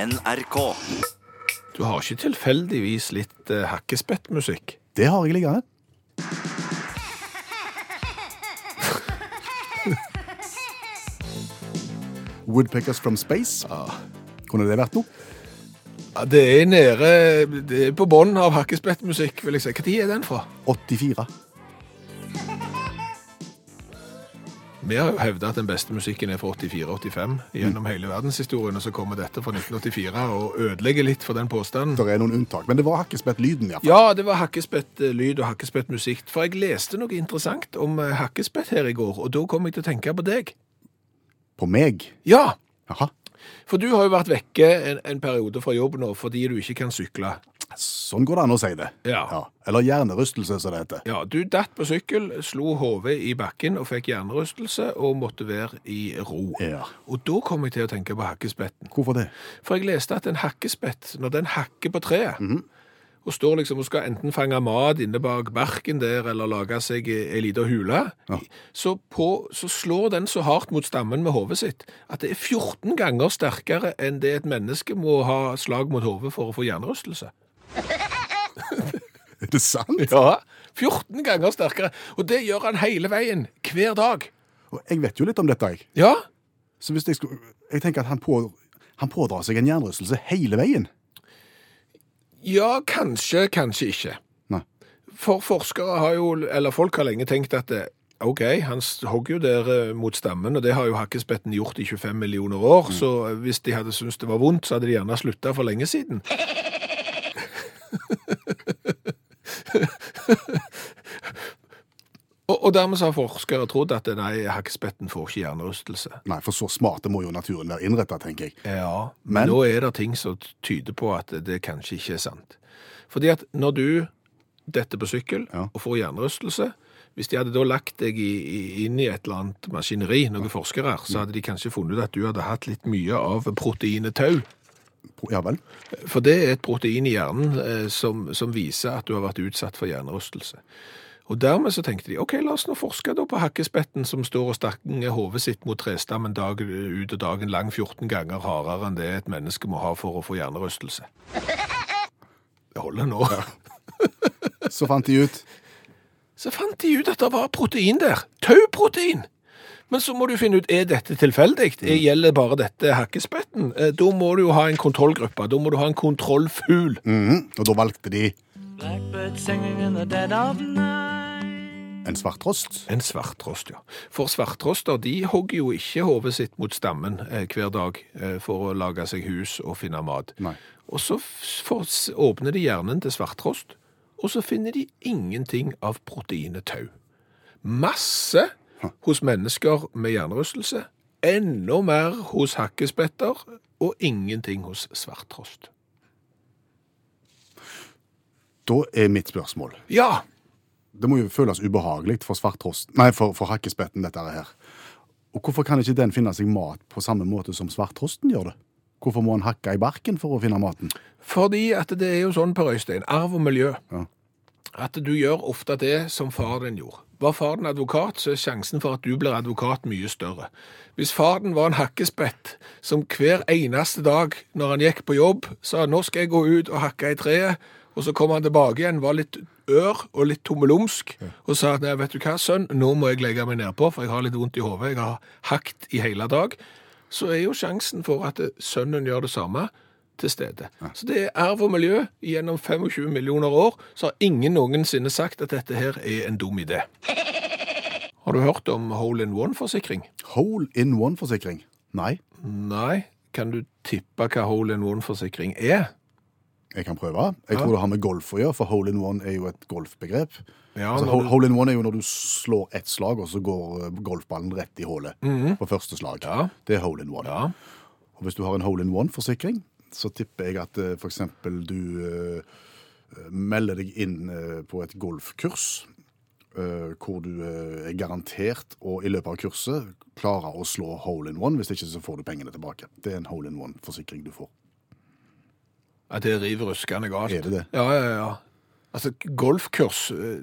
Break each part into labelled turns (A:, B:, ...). A: NRK.
B: Du har ikke tilfeldigvis litt eh, hakkespettmusikk?
C: Det har jeg liggende. Woodpeckers from space. Kunne det vært noe?
B: Ja, det er nede det er på bånn av hakkespettmusikk, vil jeg si. Når er den fra?
C: 84.
B: Vi har jo hevda at den beste musikken er fra 84-85 gjennom hele verdenshistorien, og så kommer dette fra 1984 og ødelegger litt for den påstanden.
C: Det er noen unntak, men det var hakkespettlyden. Ja.
B: Ja, det var hakkespettlyd og hakkespettmusikk, for jeg leste noe interessant om eh, hakkespett her i går, og da kom jeg til å tenke på deg.
C: På meg.
B: Ja,
C: Jaha.
B: for du har jo vært vekke en, en periode fra jobb nå fordi du ikke kan sykle.
C: Sånn går det an å si det.
B: Ja.
C: Eller hjernerystelse, som det heter.
B: Ja, du datt på sykkel, slo hodet i bakken og fikk hjernerystelse og måtte være i ro.
C: Ja.
B: Og da kom jeg til å tenke på hakkespetten.
C: Hvorfor det?
B: For jeg leste at en hakkespett, når den hakker på treet,
C: Mhm.
B: og står liksom og skal enten fange mat inne bak barken der, eller lage seg ei lita hule,
C: Ja.
B: så, på, så slår den så hardt mot stammen med hodet sitt at det er 14 ganger sterkere enn det et menneske må ha slag mot hodet for å få hjernerystelse.
C: Er det sant?
B: Ja. 14 ganger sterkere. Og det gjør han hele veien, hver dag.
C: Og jeg vet jo litt om dette, jeg.
B: Ja,
C: Så hvis jeg skulle Jeg tenker at han, på, han pådrar seg en hjernerystelse hele veien.
B: ja kanskje, kanskje ikke.
C: Nei.
B: For forskere har jo, eller folk har lenge tenkt at eh, ok, han s- hogg jo der eh, mot stammen, og det har jo hakkespetten gjort i 25 millioner år, så eh, hvis de hadde syntes det var vondt, så hadde de gjerne slutta for lenge siden. og, og dermed så har forskere trodd at eh, nei, hakkespetten får ikke hjernerystelse.
C: Nei, for så smarte må jo naturen være innretta, tenker jeg.
B: Ja,
C: Men-
B: men nå er det ting som tyder på at det kanskje ikke er sant. Fordi at når du detter på sykkel
C: Ja.
B: og får hjernerystelse, hvis de hadde da lagt deg i, i, inn i et eller annet maskineri, noen forskere, her,
C: Mm.
B: så hadde de kanskje funnet ut at du hadde hatt litt mye av proteinet tau.
C: Pro- Ja vel?
B: For det er et protein i hjernen eh, som, som viser at du har vært utsatt for hjernerystelse. Og dermed så tenkte de, ok, la oss nå forske da på hakkespetten som står og stakker hovedet sitt mot trestammen dag ut og dagen lang 14 ganger hardere enn det et menneske må ha for å få hjernerystelse. Det holder nå.
C: Så fant de ut
B: Så fant de ut at det var protein der. Tauprotein! Men så må du finne ut, er dette tilfeldig? Er- Gjelder bare dette hakkespetten? Eh, Da må du jo ha en kontrollgruppe, da må du ha en kontrollfugl.
C: Mhm. Og da valgte de
D: Blackbird singing in the dead of night.
C: en svarttrost.
B: En svarttrost, ja. For svarttroster de hogger jo ikke hodet sitt mot stammen eh, hver dag eh, for å lage seg hus og finne mat.
C: Nei.
B: Og så f- får- s- åpner de hjernen til svarttrost, og så finner de ingenting av proteinet tau. Masse hos mennesker med hjernerystelse, enda mer hos hakkespetter, og ingenting hos svarttrost.
C: Da er mitt spørsmål
B: Ja,
C: Det må jo føles ubehagelig for svarttrosten Nei, for, for hakkespetten, dette her. Og hvorfor kan ikke den finne seg mat på samme måte som svarttrosten gjør det? Hvorfor må han hakke i barken for å finne maten?
B: Fordi at det er jo sånn, Per Øystein, arv og miljø,
C: Ja.
B: at du gjør ofte det som far din gjorde. Var far din advokat, så er sjansen for at du blir advokat mye større. Hvis far din var en hakkespett som hver eneste dag når han gikk på jobb, sa nå skal jeg gå ut og hakke i treet, og så kom han tilbake igjen, var litt ør og litt tommelumsk, og sa at nei, vet du hva, sønn, nå må jeg legge meg nedpå, for jeg har litt vondt i hodet, jeg har hakt i hele dag, så er jo sjansen for at eh, sønnen gjør det samme, til stede. Så det er arv og miljø gjennom 25 millioner år, så har ingen noensinne sagt at dette her er en dum idé. Har du hørt om hole-in-one-forsikring?
C: Hole in one-forsikring? Nei,
B: Nei. Kan du tippe hva hole-in-one-forsikring er?
C: jeg kan prøve. Jeg tror det har med golf å gjøre, for hole in one er jo et golfbegrep.
B: Ja,
C: altså,
B: når
C: hole-
B: du-
C: Hole in one er jo når du slår ett slag, og så går eh, golfballen rett i hullet på første slag.
B: Mhm. Ja.
C: Det er hole in one.
B: Ja.
C: Og hvis du har en hole-in-one-forsikring, så tipper jeg at eh, for eksempel du eh, melder deg inn eh, på et golfkurs, eh, hvor du eh, er garantert å i løpet av kurset klare å slå hole-in-one. Hvis ikke så får du pengene tilbake. Det er en hole-in-one-forsikring du får.
B: ja, det river ruskende galt.
C: Er det det?
B: Ja, ja, ja. Altså, golfkurs eh,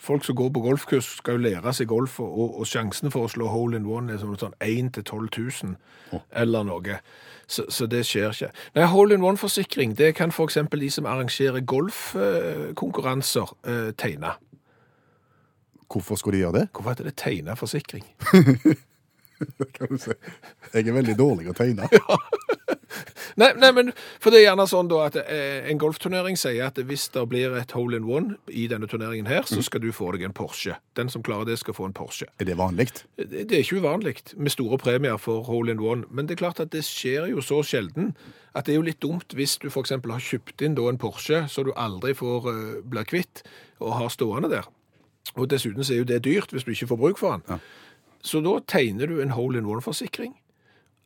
B: Folk som går på golfkurs, skal jo lære seg golf, og, og sjansen for å slå hole in one er sånn, sånn 1 til 12 000 eller noe. Så, så det skjer ikke. Nei, hole in one-forsikring det kan f.eks. de som arrangerer golfkonkurranser, eh, tegne.
C: Hvorfor skulle de gjøre det?
B: Hvorfor heter det tegna forsikring?
C: Kan du si. Jeg er veldig dårlig å tegne.
B: Nei, nei, men for det er gjerne sånn da at eh, en golfturnering sier at hvis det blir et hole in one i denne turneringen her, så skal du få deg en Porsche. Den som klarer det, skal få en Porsche.
C: Er det vanlig?
B: Det det er ikke uvanlig med store premier for hole in one, men det er klart at det skjer jo så sjelden at det er jo litt dumt hvis du f.eks. har kjøpt inn da en Porsche så du aldri får eh, bli kvitt og har stående der. Og dessuten så er jo det dyrt hvis du ikke får bruk for den. Så da tegner du en hole in one-forsikring.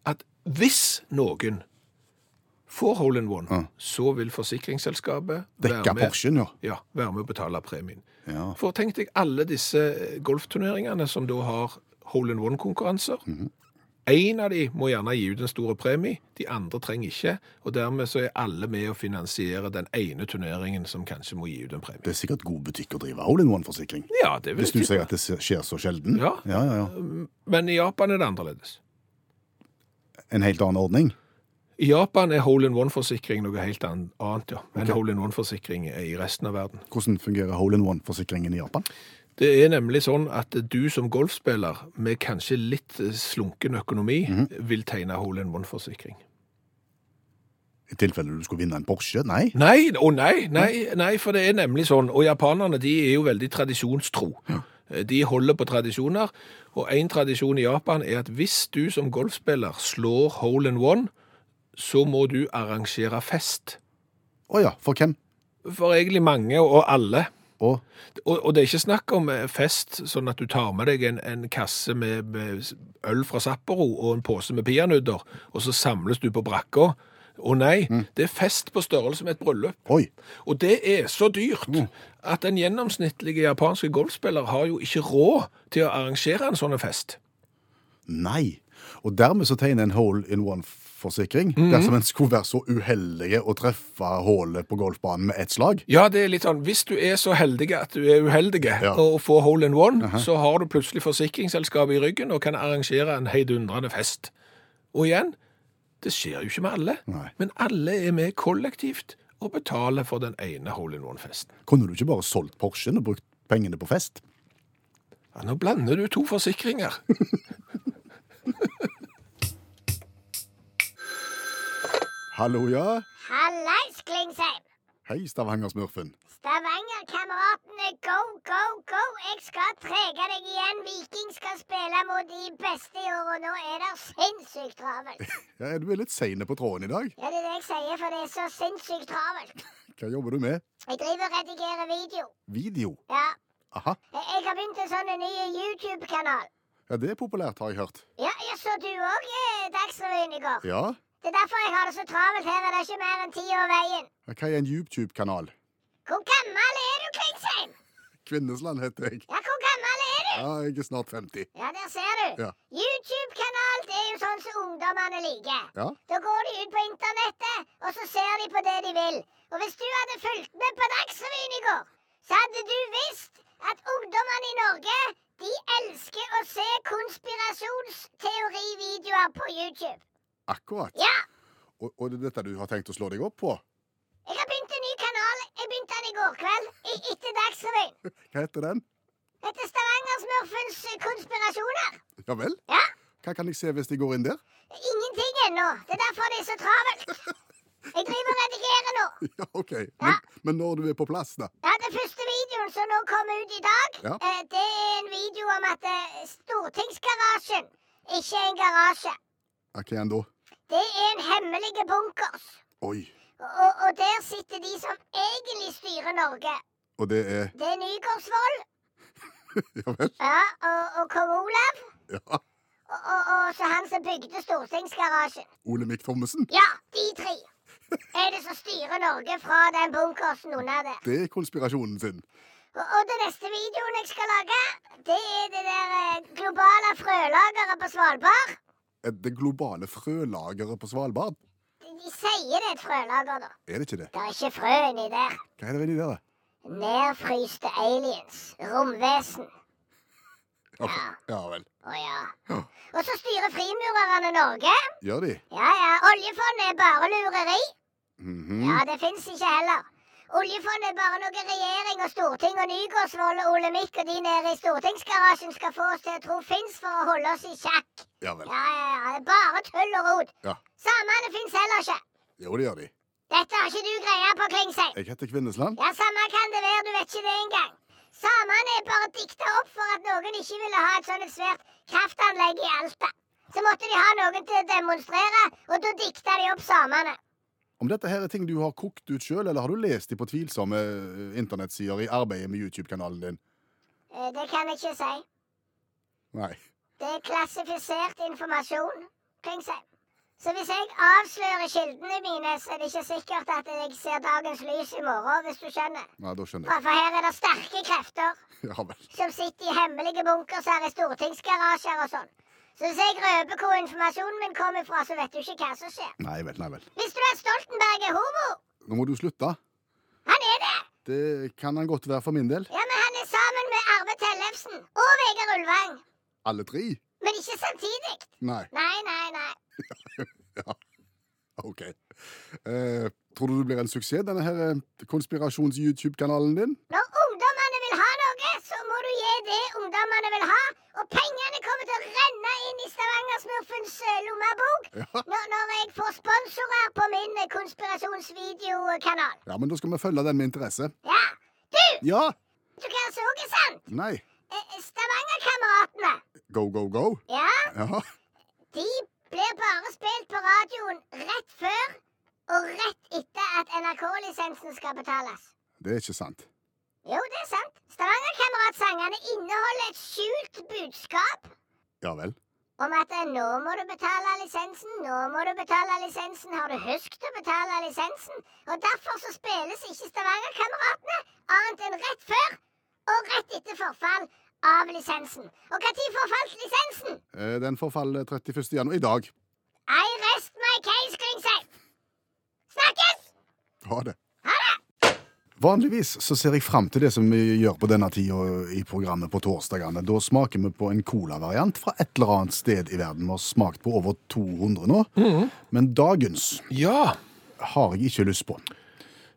B: At hvis noen får hole in one, så vil forsikringsselskapet
C: Dekke Porschen, ja.
B: ja, være med å betale premien.
C: Ja.
B: For tenk deg alle disse eh, golfturneringene som da har hole-in-one-konkurranser.
C: Mhm.
B: En av de må gjerne gi ut en stor premie, de andre trenger ikke, og dermed så er alle med å finansiere den ene turneringen som kanskje må gi ut en premie.
C: Det er sikkert god butikk å drive hole-in-one-forsikring.
B: Ja, det vil
C: Hvis du
B: jeg tippe.
C: sier at det skjer så sjelden.
B: Ja.
C: Ja, ja, ja.
B: Men i Japan er det annerledes.
C: En helt annen ordning.
B: I Japan er hole-in-one-forsikring noe helt an- annet, ja. Men
C: Ok.
B: hole-in-one-forsikring er i resten av verden.
C: Hvordan fungerer hole-in-one-forsikringen i Japan?
B: Det er nemlig sånn at du som golfspiller, med kanskje litt eh, slunken økonomi,
C: Mhm.
B: vil tegne hole-in-one-forsikring.
C: I tilfelle du skulle vinne en Porsche? Nei.
B: Nei, å nei, nei, nei, for det er nemlig sånn. Og japanerne de er jo veldig tradisjonstro. Eh, De holder på tradisjoner, og en tradisjon i Japan er at hvis du som golfspiller slår hole in one, så må du arrangere fest.
C: Å ja, for hvem?
B: For egentlig mange og alle.
C: Å,
B: Og, og det er ikke snakk om eh, fest, sånn at du tar med deg en, en kasse med, med s- øl fra Sapporo og en pose med peanøtter, og så samles du på brakka. Å nei, det er fest på størrelse med et bryllup.
C: oi.
B: Og det er så dyrt at den gjennomsnittlige japanske golfspiller har jo ikke råd til å arrangere en sånn en fest.
C: Nei. Og dermed så tegner en hole-in-one-forsikring dersom en skulle være så uheldige å treffe hullet på golfbanen med ett slag.
B: Ja, det er litt sånn, hvis du er så heldig at du er uheldig
C: Ja.
B: og får hole in one, så har du plutselig forsikringsselskapet i ryggen og kan arrangere en heidundrende fest. Og igjen, det skjer jo ikke med alle,
C: Nei.
B: men alle er med kollektivt og betaler for den ene hole in one-festen.
C: Kunne du ikke bare solgt Porschen og brukt pengene på fest?
B: Ja, nå blander du to forsikringer.
C: Hallo, ja.
A: Hallais, Klingsheim!
C: Hei, Stavanger-smurfen.
A: Stavanger-kameratene, go, go, go! Jeg skal trege deg igjen. Viking skal spille mot de beste i år, og nå er det sinnssykt travelt.
C: Ja, du er litt sein på tråden i dag.
A: Ja, det er det jeg sier, for det er så sinnssykt travelt.
C: Hva jobber du med?
A: Jeg driver og redigerer video.
C: Video.
A: Ja.
C: Aha.
A: Jeg jeg har begynt en sånn ny YouTube-kanal.
C: Ja, det er populært, har jeg hørt.
A: Ja, ja, så du òg Dagsrevyen i går.
C: Ja.
A: Det er derfor jeg har det så travelt her. Er det ikke mer enn ti år veien?
C: Hva er en YouTube-kanal?
A: Hvor gammel er du, Klingsheim?
C: Kvinnesland heter jeg.
A: Ja, hvor gammel er du?
C: Ja, jeg er snart 50.
A: Ja, der ser du.
C: Ja.
A: YouTube-kanal det er jo sånn som ungdommene liker.
C: Ja.
A: Da går de ut på internettet, og så ser de på det de vil. Og hvis du hadde fulgt med på Dagsrevyen i går, så hadde du visst at ungdommene i Norge de elsker å se konspirasjonsteorivideoer på YouTube.
C: Akkurat.
A: Ja!
C: Og, og det er dette du har tenkt å slå deg opp på?
A: Jeg har begynt en ny kanal. Jeg begynte den i går kveld i, etter Dagsrevyen.
C: Hva heter den?
A: Etter Stavangersmurfens konspirasjoner.
C: Ja vel?
A: Ja!
C: Hva kan jeg se hvis de går inn der?
A: Ingenting ennå. Det er derfor det er så travelt. Jeg driver og redigerer nå.
C: Ja, OK. Men, men når du er på plass, da?
A: Ja, Den første videoen som nå kommer ut i dag,
C: Ja.
A: eh, det er en video om at eh, stortingsgarasjen ikke er en garasje.
C: Ja, Hva er den da?
A: Det er en hemmelig bunkers.
C: Oi.
A: Og, og der sitter de som egentlig styrer Norge.
C: Og det er
A: Det er Nygaardsvold
C: Ja vel?
A: ja, og, og kong Olav.
C: Ja.
A: Og, og, og så han som bygde stortingsgarasjen.
C: Olemic Thommessen?
A: Ja, de tre er det som styrer Norge fra den bunkersen under der.
C: Det er konspirasjonen sin.
A: Og, og den neste videoen jeg skal lage, det er det der eh, globale frølageret på Svalbard.
C: Er Det globale frølageret på Svalbard?
A: De, de sier det er et frølager, da.
C: Er det ikke det?
A: Det er ikke frø inni der.
C: Hva er det inni der, da?
A: Nedfryste aliens. Romvesen.
C: Ok, Ja vel.
A: Å ja.
C: Ja.
A: Og så styrer frimurerne Norge.
C: Gjør de?
A: Ja ja, oljefondet er bare lureri.
C: Mhm.
A: Ja, det fins ikke heller. Oljefondet er bare noe regjering og storting og Nygaardsvold og Ole Mikk og de nede i stortingsgarasjen skal få oss til å tro fins for å holde oss i sjakk.
C: Ja vel.
A: Ja, ja, ja, det er bare tull og rot.
C: Ja.
A: Samene fins heller ikke.
C: Jo, det gjør de.
A: Dette har ikke du greie på, Klingsheim.
C: Jeg heter Kvinnesland.
A: Ja, samme kan det være, du vet ikke det engang. Samene er bare dikta opp for at noen ikke ville ha et sånt et svært kraftanlegg i Alta. Så måtte de ha noen til å demonstrere, og da dikta de opp samene.
C: Om dette her er ting du har kokt ut sjøl, eller har du lest de på tvilsomme eh, internettsider i arbeidet med YouTube-kanalen din?
A: Eh, Det kan jeg ikke si.
C: Nei.
A: Det er klassifisert informasjon, Klingsheim. Så hvis jeg avslører kildene mine, så er det ikke sikkert at jeg ser dagens lys i morgen, hvis du skjønner.
C: Nei, da skjønner jeg.
A: For for her er det sterke krefter
C: Ja vel.
A: som sitter i hemmelige bunkers her i stortingsgarasjer og sånn. Så hvis jeg røper hvor informasjonen min kommer fra, så vet du ikke hva som skjer.
C: Nei vel, nei vel.
A: Visste du at Stoltenberg er homo?
C: Nå må du slutte.
A: Han er det!
C: Det kan han godt være for min del.
A: Ja, men han er sammen med Arve Tellefsen og Vegard Ulvang.
C: Alle tre?
A: Men ikke samtidig.
C: Nei.
A: Nei, nei, nei.
C: OK. Eh, tror du det blir en suksess, denne her eh, konspirasjons-YouTube-kanalen din?
A: Når ungdommene vil ha noe, så må du gi det ungdommene vil ha. Og pengene kommer til å renne inn i Stavanger-smurfens eh, lommebok
C: Ja.
A: når, når jeg får sponsorer på min eh, konspirasjonsvideokanal.
C: ja, men da skal vi følge den med interesse.
A: Ja. Du,
C: Ja!
A: du kan så ikke sant?
C: Nei.
A: Eh, Stavanger-kameratene,
C: Go, go, go.
A: ja,
C: Ja.
A: de blir bare spilt på radioen rett før og rett etter at NRK-lisensen skal betales.
C: Det er ikke sant.
A: Jo, det er sant. Stavanger-kameratsangene inneholder et skjult budskap.
C: Ja vel.
A: Om at eh, nå må du betale lisensen, nå må du betale lisensen, har du husket å betale lisensen? Og derfor så spilles ikke Stavanger-kameratene annet enn rett før og rett etter forfall av lisensen. Og når forfalt lisensen?
C: Eh, den forfaller 31. januar i dag.
A: I rest my case, Klingsheim. Snakkes!
C: Ha det. Vanligvis så ser jeg fram til det som vi gjør på denne tida i programmet på torsdagene. Da smaker vi på en colavariant fra et eller annet sted i verden. Vi har smakt på over 200 nå, men dagens
B: Ja.
C: har jeg ikke lyst på.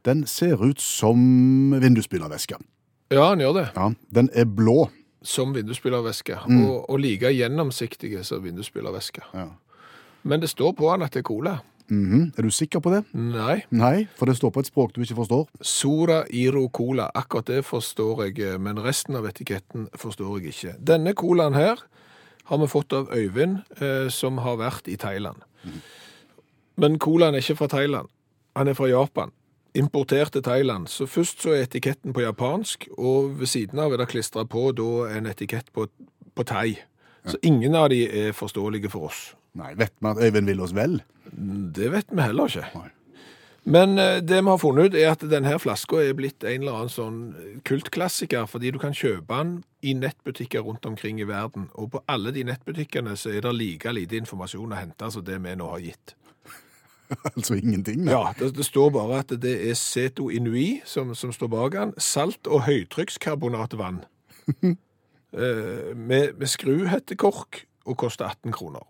C: Den ser ut som vindusspylervæske.
B: Ja, han gjør det.
C: Ja, den er blå.
B: Som vindusspylervæske. Og, og like gjennomsiktige som vindusspylervæske.
C: Ja.
B: Men det står på han at det er cola.
C: Mhm. Er du sikker på det?
B: Nei.
C: Nei, for det står på et språk du ikke forstår.
B: Soda Iro Cola. Akkurat det forstår jeg, eh, men resten av etiketten forstår jeg ikke. Denne colaen her har vi fått av Øyvind, eh, som har vært i Thailand. Men colaen er ikke fra Thailand. Han er fra Japan. Importert til Thailand. Så først så er etiketten på japansk, og ved siden av er det klistra på da en etikett på, på thai. Så ingen av de er forståelige for oss.
C: Nei, vet vi at Øyvind vil oss vel?
B: Det vet vi heller ikke.
C: Nei.
B: Men eh, det vi har funnet ut, er at denne flaska er blitt en eller annen sånn kultklassiker, fordi du kan kjøpe den i nettbutikker rundt omkring i verden. Og på alle de nettbutikkene så er det like lite informasjon å hente som det vi nå har gitt.
C: altså ingenting. nei.
B: Ja, det, det står bare at det er Seto Inui som, som står bak den. Salt- og høytrykkskarbonatvann. eh, med, med skruhettekork og koster 18 kroner.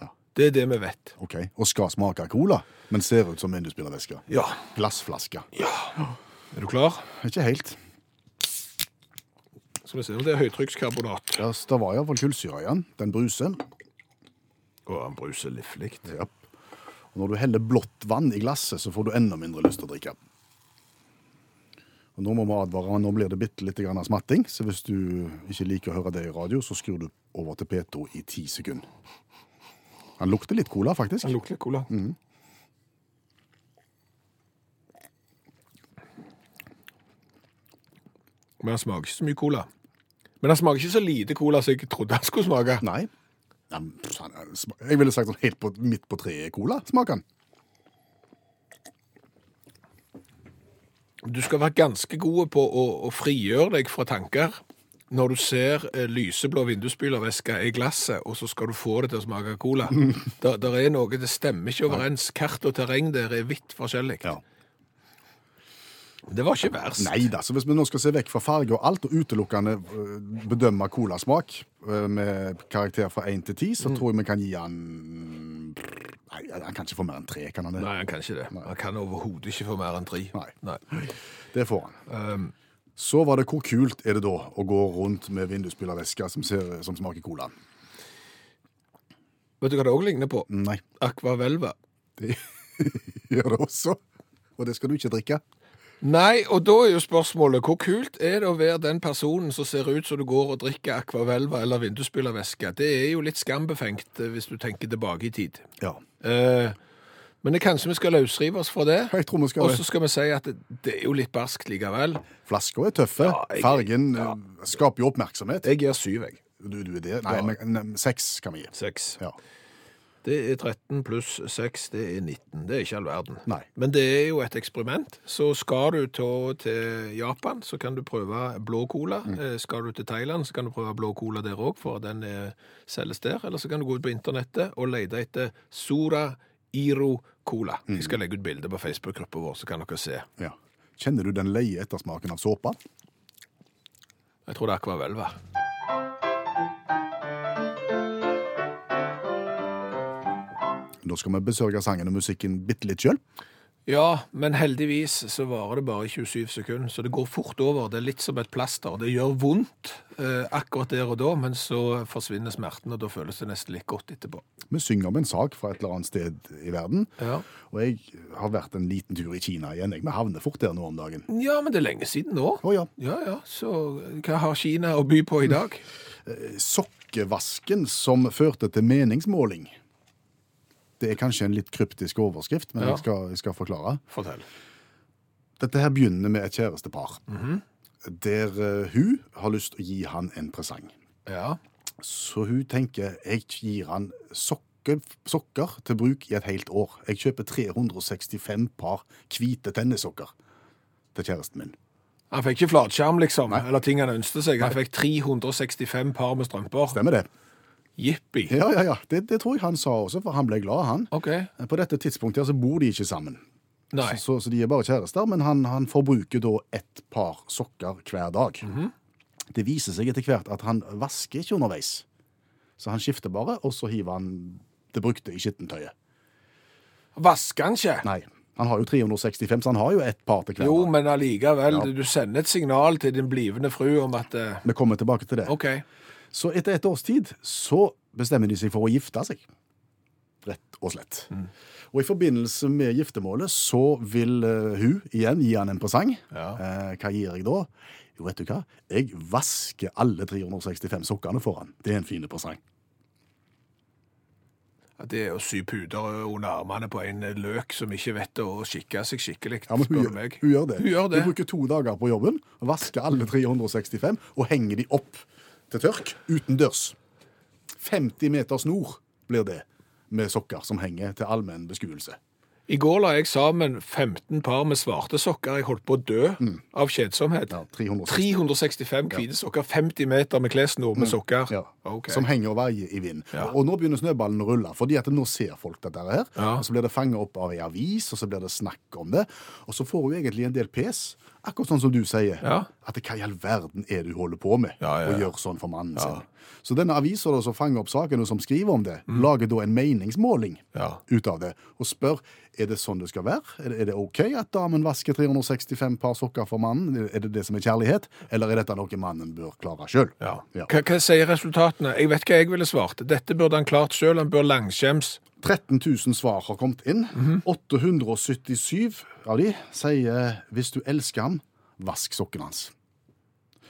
C: Ja.
B: Det er det vi vet.
C: Ok, Og skal smake cola, men ser ut som vindusspylervæske.
B: Ja.
C: Glassflaske.
B: Er du klar?
C: Ikke helt.
B: Skal vi se om det er høytrykkskarbonat.
C: Ja, det var iallfall kullsyre i den. Den bruser.
B: Og han bruser livlig.
C: Ja. Og når du heller blått vann i glasset, så får du enda mindre lyst til å drikke. Og nå må vi advare, men nå blir det bitte litt grann smatting, så hvis du ikke liker å høre det i radio, så skrur du over til P2 i ti sekunder. Han lukter litt cola, faktisk.
B: Han lukter litt cola. Men han smaker ikke så mye cola. Men han smaker ikke så lite cola som jeg trodde han skulle smake.
C: Nei. Ja, men, faen, han sma- Jeg ville sagt sånn helt på, midt på treet cola. Smak han.
B: Du skal være ganske god på å, å frigjøre deg fra tanker når du ser eh, lyseblå vindusspylervæske i glasset, og så skal du få det til å smake cola. Der, der er noe, det stemmer ikke overens. Kart og terreng der er vidt forskjellig.
C: Ja.
B: Det var ikke verst.
C: Nei da, så hvis vi nå skal se vekk fra farge og alt, og utelukkende øh, bedømme colasmak øh, med karakter fra 1 til 10,
B: Mm.
C: så tror jeg vi kan gi han Nei, han kan ikke få mer enn 3, kan han det?
B: Nei, han kan ikke det. Han kan overhodet ikke få mer enn tre.
C: Nei.
B: Nei. Ehm,
C: Det får han. så var det hvor kult er det da å gå rundt med vindusspylerveske som, ser- som smaker cola?
B: Vet du hva det òg ligner på?
C: Nei,
B: Akvavelva.
C: det gjør det også. Og det skal du ikke drikke.
B: Nei, og da er jo spørsmålet hvor kult er det å være den personen som ser ut som du går og drikker akvavelva eller vindusspylervæske? Det er jo litt skambefengt eh, hvis du tenker tilbake i tid.
C: Ja.
B: Eh, men det kanskje vi skal løsrive oss fra det.
C: Jeg tror vi skal
B: Og så skal vi si at det, det er jo litt barskt likevel.
C: Flasker er tøffe.
B: Ja, jeg-
C: Fargen øh, skaper jo oppmerksomhet.
B: Jeg gir syv, jeg.
C: Du, du er det? Nei,
B: Ja.
C: men men seks kan vi gi.
B: Seks.
C: Ja.
B: Det er 13 pluss 6, det er 19. Det er ikke all verden.
C: Nei.
B: Men det er jo et eksperiment. Så skal du til, til Japan, så kan du prøve blå cola. Eh, Skal du til Thailand, så kan du prøve blå cola der òg, for den eh, selges der. Eller så kan du gå ut på internettet og lete etter Sora Iro Cola. Jeg skal legge ut bilde på Facebook-gruppa vår, så kan dere se.
C: Ja. Kjenner du den leie ettersmaken av såpe?
B: Jeg tror det er Akvavelva.
C: Nå skal vi besørge sangen og musikken bitte litt sjøl.
B: Ja, men heldigvis så varer det bare 27 sekunder, så det går fort over. Det er litt som et plaster. Det gjør vondt eh, akkurat der og da, men så forsvinner smerten, og da føles det nesten litt godt etterpå.
C: Vi synger om en sak fra et eller annet sted i verden.
B: Ja,
C: Og jeg har vært en liten tur i Kina igjen. Jeg. Vi havner fort der nå om dagen.
B: men det er lenge siden nå.
C: Å ja.
B: Ja, ja, så eh, hva har Kina å by på i dag?
C: Sokkevasken som førte til meningsmåling. Det er kanskje en litt kryptisk overskrift, men
B: Ja.
C: jeg, skal, jeg skal forklare.
B: Fortell.
C: Dette her begynner med et kjærestepar. Der eh, hun har lyst til å gi han en presang.
B: Ja,
C: Så hun tenker jeg gir han sokker, sokker til bruk i et helt år. Jeg kjøper 365 par hvite tennissokker til kjæresten min.
B: han fikk ikke flatskjerm liksom, eller ting han ønsket seg. Han fikk 365 par med strømper.
C: Stemmer det?
B: Jippi.
C: Ja, ja, ja. Det, det tror jeg han sa også, for han ble glad, han.
B: Ok,
C: På dette tidspunktet her så bor de ikke sammen,
B: nei.
C: så, så de er bare kjærester, men han, han forbruker da ett par sokker hver dag. Det viser seg etter hvert at han vasker ikke underveis. Så han skifter bare, og så hiver han det brukte i skittentøyet.
B: Vasker han ikke?
C: Nei, han har jo 365, så han har jo ett par til hver
B: Jo,
C: dag.
B: men allikevel,
C: Ja.
B: du sender et signal til din blivende fru om at eh,
C: Vi kommer tilbake til det.
B: OK.
C: Så etter et års tid så bestemmer de seg for å gifte seg. Rett og slett.
B: Mm.
C: Og i forbindelse med giftermålet så vil eh, hun igjen gi han en presang.
B: Ja.
C: Eh, hva gir jeg da? Jo, vet du hva? Jeg vasker alle 365 sokkene for han. Det er en fin presang.
B: Det er å sy puter under armene på en løk som ikke vet å skikke seg skikkelig,
C: Ja, men hun,
B: spør du
C: gjør-
B: meg.
C: hun gjør det.
B: Hun gjør det.
C: Hun bruker to dager på jobben, vasker alle 365 og henger de opp til tørk utendørs. 50 meter snor blir det med sokker som henger til allmenn beskuelse.
B: I går la jeg sammen 15 par med svarte sokker. Jeg holdt på å dø av kjedsomhet.
C: Mm. Ja, 360.
B: 365 hvite sokker, 50 meter med klesnor med sokker.
C: Mm. Ja.
B: Ok.
C: Som henger og veier i vind.
B: Ja.
C: Og nå begynner snøballen å rulle, fordi at nå ser folk dette her.
B: Ja.
C: Og så blir det fanget opp av en avis, og så blir det snakk om det. Og så får hun egentlig en del pes, akkurat sånn som du sier.
B: Ja.
C: At hva i all verden er det hun holder på med,
B: Ja, ja,
C: og
B: ja.
C: gjør sånn for mannen sin. Så denne avisa da som fanger opp saken, og som skriver om det, lager da en
B: Mm.
C: meningsmåling
B: Ja.
C: ut av det, og spør er det sånn det skal være. Er det, er det OK at damen vasker 365 par sokker for mannen? Er det det som er kjærlighet? Eller er dette noe mannen bør klare sjøl?
B: Ja. Hva, hva sier resultatene? Jeg vet hva jeg ville svart. Dette burde han klart sjøl. Han bør langskjems.
C: 13 000 svar har kommet inn. 877 av de sier 'hvis du elsker ham, vask sokken hans'.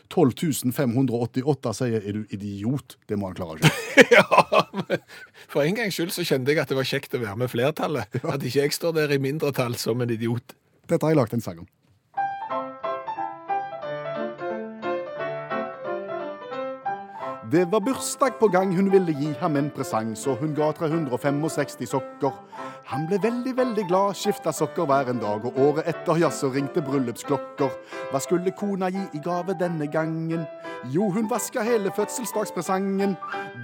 C: 12 588 sier 'er du idiot', det må han klare selv.
B: Ja, men for en gangs skyld så kjente jeg at det var kjekt å være med flertallet. At ikke jeg står der i mindretall som en idiot.
C: Dette har jeg lagt en sang om. Det var bursdag på gang, hun ville gi ham en presang, så hun ga 365 sokker. Han ble veldig, veldig glad, skifta sokker hver en dag, og året etter, ja, så ringte bryllupsklokker. Hva skulle kona gi i gave denne gangen? Jo, hun vaska hele fødselsdagspresangen.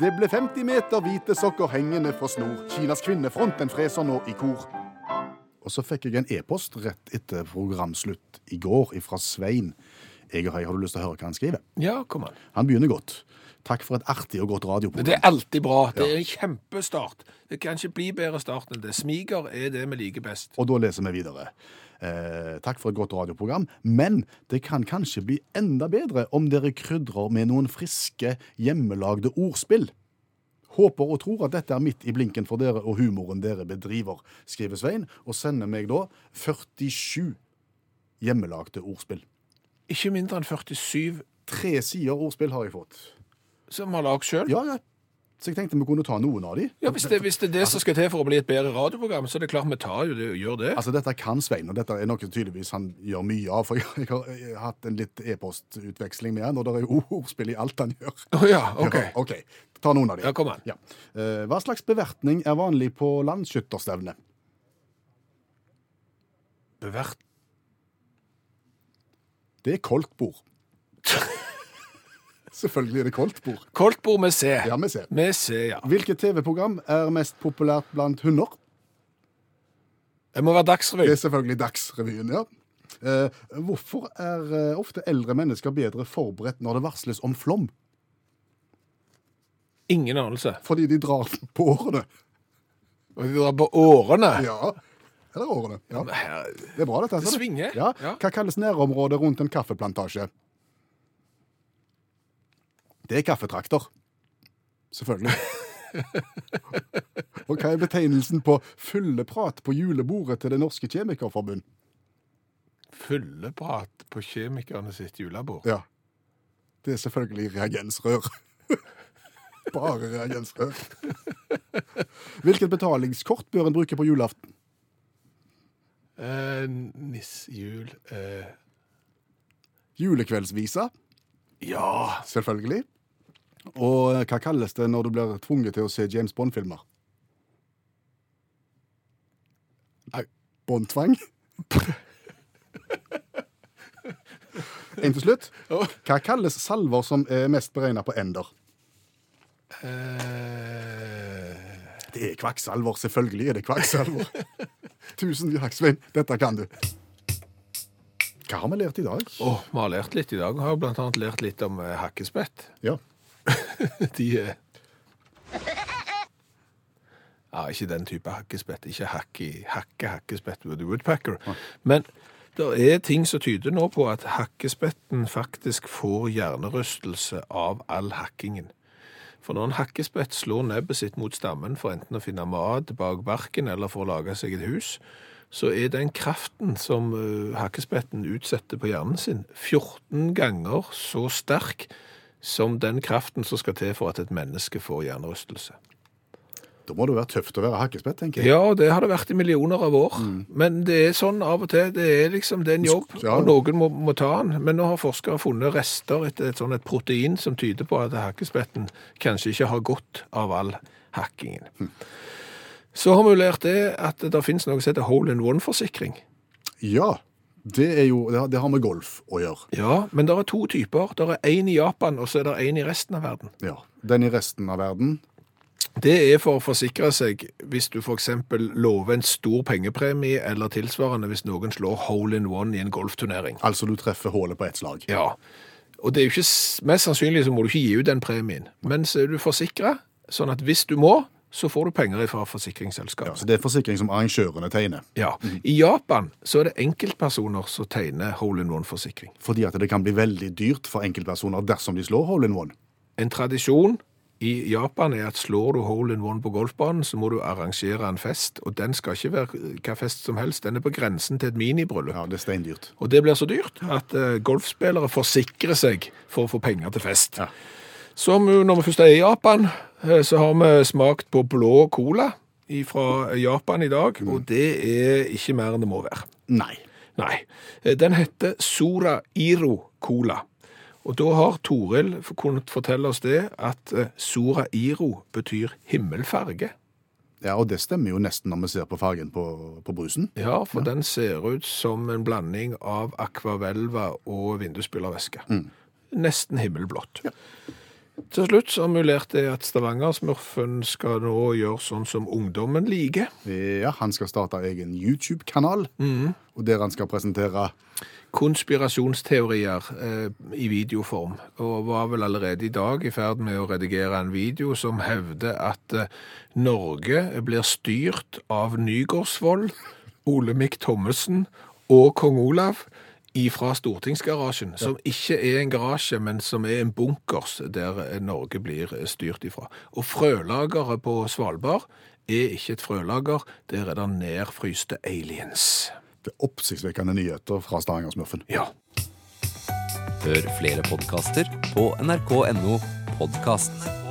C: Det ble 50 meter hvite sokker hengende fra snor. Kinas kvinnefront, den freser nå i kor. Og så fikk jeg en e-post rett etter programslutt i går fra Svein. Egerhøy, har du lyst til å høre hva han skriver?
B: Ja, kom an.
C: Han begynner godt. Takk for et artig og godt radioprogram.
B: Det er alltid bra. Det er en kjempestart. Det kan ikke bli bedre start enn det. Smiger er det vi liker best.
C: Og da leser vi videre. Eh, takk for et godt radioprogram, men det kan kanskje bli enda bedre om dere krydrer med noen friske, hjemmelagde ordspill. Håper og tror at dette er midt i blinken for dere og humoren dere bedriver, skriver Svein, og sender meg da 47 hjemmelagde ordspill.
B: Ikke mindre enn 47
C: Tre sider ordspill har jeg fått.
B: som vi har lagd sjøl.
C: Ja, ja. Så jeg tenkte vi kunne ta noen av de.
B: Ja, hvis det, hvis det er det som skal til for å bli et bedre radioprogram, så er det klart vi tar jo det og gjør det.
C: Altså, dette kan Svein, og dette er noe tydeligvis han gjør mye av, for jeg har, jeg har, eh, hatt en litt e-postutveksling med han, og det er jo ordspill i alt han gjør.
B: Å ja, OK.
C: Ja, ok. Ta noen av de.
B: Ja, kom an.
C: Ja. Eh, hva slags bevertning er vanlig på landskytterstevne?
B: Bevert.
C: Det er koltbord. Selvfølgelig er det koltbord.
B: Koltbord med C.
C: Ja, vi ser.
B: Med C, ja.
C: Hvilket TV-program er mest populært blant hunder?
B: Det må være
C: Det er
B: Dagsrevyen.
C: selvfølgelig Dagsrevyen, ja. Eh, hvorfor er eh, ofte eldre mennesker bedre forberedt når det varsles om flom?
B: Ingen anelse.
C: Fordi de drar på årene.
B: Og de drar på årene.
C: Ja. Eller årene. Ja.
B: Men her-
C: Det er bra, dette.
B: Det
C: altså.
B: svinger.
C: Ja.
B: Ja.
C: Hva kalles nærområdet rundt en kaffeplantasje? Det er kaffetrakter. Selvfølgelig. Og hva er betegnelsen på fylleprat på julebordet til Det norske kjemikerforbund?
B: Fylleprat på kjemikerne sitt julebord.
C: Ja. Det er selvfølgelig reagensrør. Bare reagensrør. Hvilket betalingskort bør en bruke på julaften?
B: Eh, Nissejul eh.
C: Julekveldsvisa?
B: Ja.
C: Selvfølgelig. Og eh, hva kalles det når du blir tvunget til å se James Bond-filmer? Nei, Bond-tvang? En til slutt. Hva kalles salver som er mest beregna på ender?
B: Eh,
C: Det er kvakksalver. Selvfølgelig er det kvakksalver. Tusen takk, Svein. Dette kan du. Hva har vi lært i dag?
B: Åh, vi har lært litt i dag. Vi har blant annet lært litt om eh, hakkespett.
C: Ja.
B: De er Ja, ikke den type hakkespett. Ikke hakke, i- hakke hakkespett with the woodpecker. Men det er ting som tyder nå på at hakkespetten faktisk får hjernerystelse av all hakkingen. For når en hakkespett slår nebbet sitt mot stammen for enten å finne mat bak barken eller for å lage seg et hus, så er den kraften som eh, hakkespetten utsetter på hjernen sin, 14 ganger så sterk som den kraften som skal til for at et menneske får hjernerystelse.
C: Da må det være tøft å være hakkespett, tenker jeg.
B: Ja, det har det vært i millioner av år. Men det er sånn av og til. Det er liksom det er en jobb,
C: Mm. Ja.
B: og noen må, må ta den. Men nå har forskere funnet rester etter et sånn et protein som tyder på at hakkespetten kanskje ikke har godt av all hakkingen.
C: Hm.
B: Så har vi jo lært det at det finnes noe som heter hole-in-one-forsikring.
C: Ja. Det, er jo, det har- det har med golf å gjøre.
B: Ja, men det er to typer. Det er én i Japan, og så er det én i resten av verden.
C: Ja. Den i resten av verden
B: Det er for å forsikre seg hvis du f.eks. lover en stor pengepremie eller tilsvarende hvis noen slår hole-in-one i en golfturnering.
C: Altså du treffer hullet på ett slag.
B: Ja, og det er jo ikke, s- mest sannsynlig så må du ikke gi ut den premien. Men så er du forsikret, sånn at hvis du må, så får du penger fra
C: Ja,
B: forsikringsselskapet.
C: så det er forsikring som arrangørene tegner.
B: Ja. I Japan så er det enkeltpersoner som tegner hole-in-one-forsikring.
C: Fordi at det kan bli veldig dyrt for enkeltpersoner dersom de slår hole in one.
B: En tradisjon i Japan er at slår du hole-in-one på golfbanen, så må du arrangere en fest, og den skal ikke være hva fest som helst, den er på grensen til et minibryllup.
C: Ja, det er steindyrt.
B: Og det blir så dyrt at eh, golfspillere forsikrer seg for å få penger til fest.
C: Ja.
B: Så om- når vi først er i Japan, eh, så har vi smakt på blå cola fra Japan i dag, og det er ikke mer enn det må være.
C: Nei.
B: Nei. Eh, Den heter Sora Iro Cola. Og da har Toril f- kunnet fortelle oss det at eh, Sora Iro betyr himmelfarge.
C: Ja, og det stemmer jo nesten når vi ser på fargen på, på brusen.
B: Ja, for den ser ut som en blanding av akvavelva og vindusspylervæske. Nesten himmelblått. Til slutt så mulerte jeg at Stavanger-smurfen skal nå gjøre sånn som ungdommen liker.
C: Ja, Han skal starte egen YouTube-kanal, og der han skal presentere
B: Konspirasjonsteorier eh, i videoform, og var vel allerede i dag i ferd med å redigere en video som hevder at eh, Norge blir styrt av Nygaardsvold, Olemic Thommessen og kong Olav ifra stortingsgarasjen, som ikke er en garasje, men som er en bunkers der eh, Norge blir eh, styrt ifra. Og frølageret på Svalbard er ikke et frølager, der er det nedfryste aliens.
C: det oppsiktsvekkende nyheter fra Stavanger-smurfen.
B: Ja.
E: Hør flere podkaster på nrk.no podkast.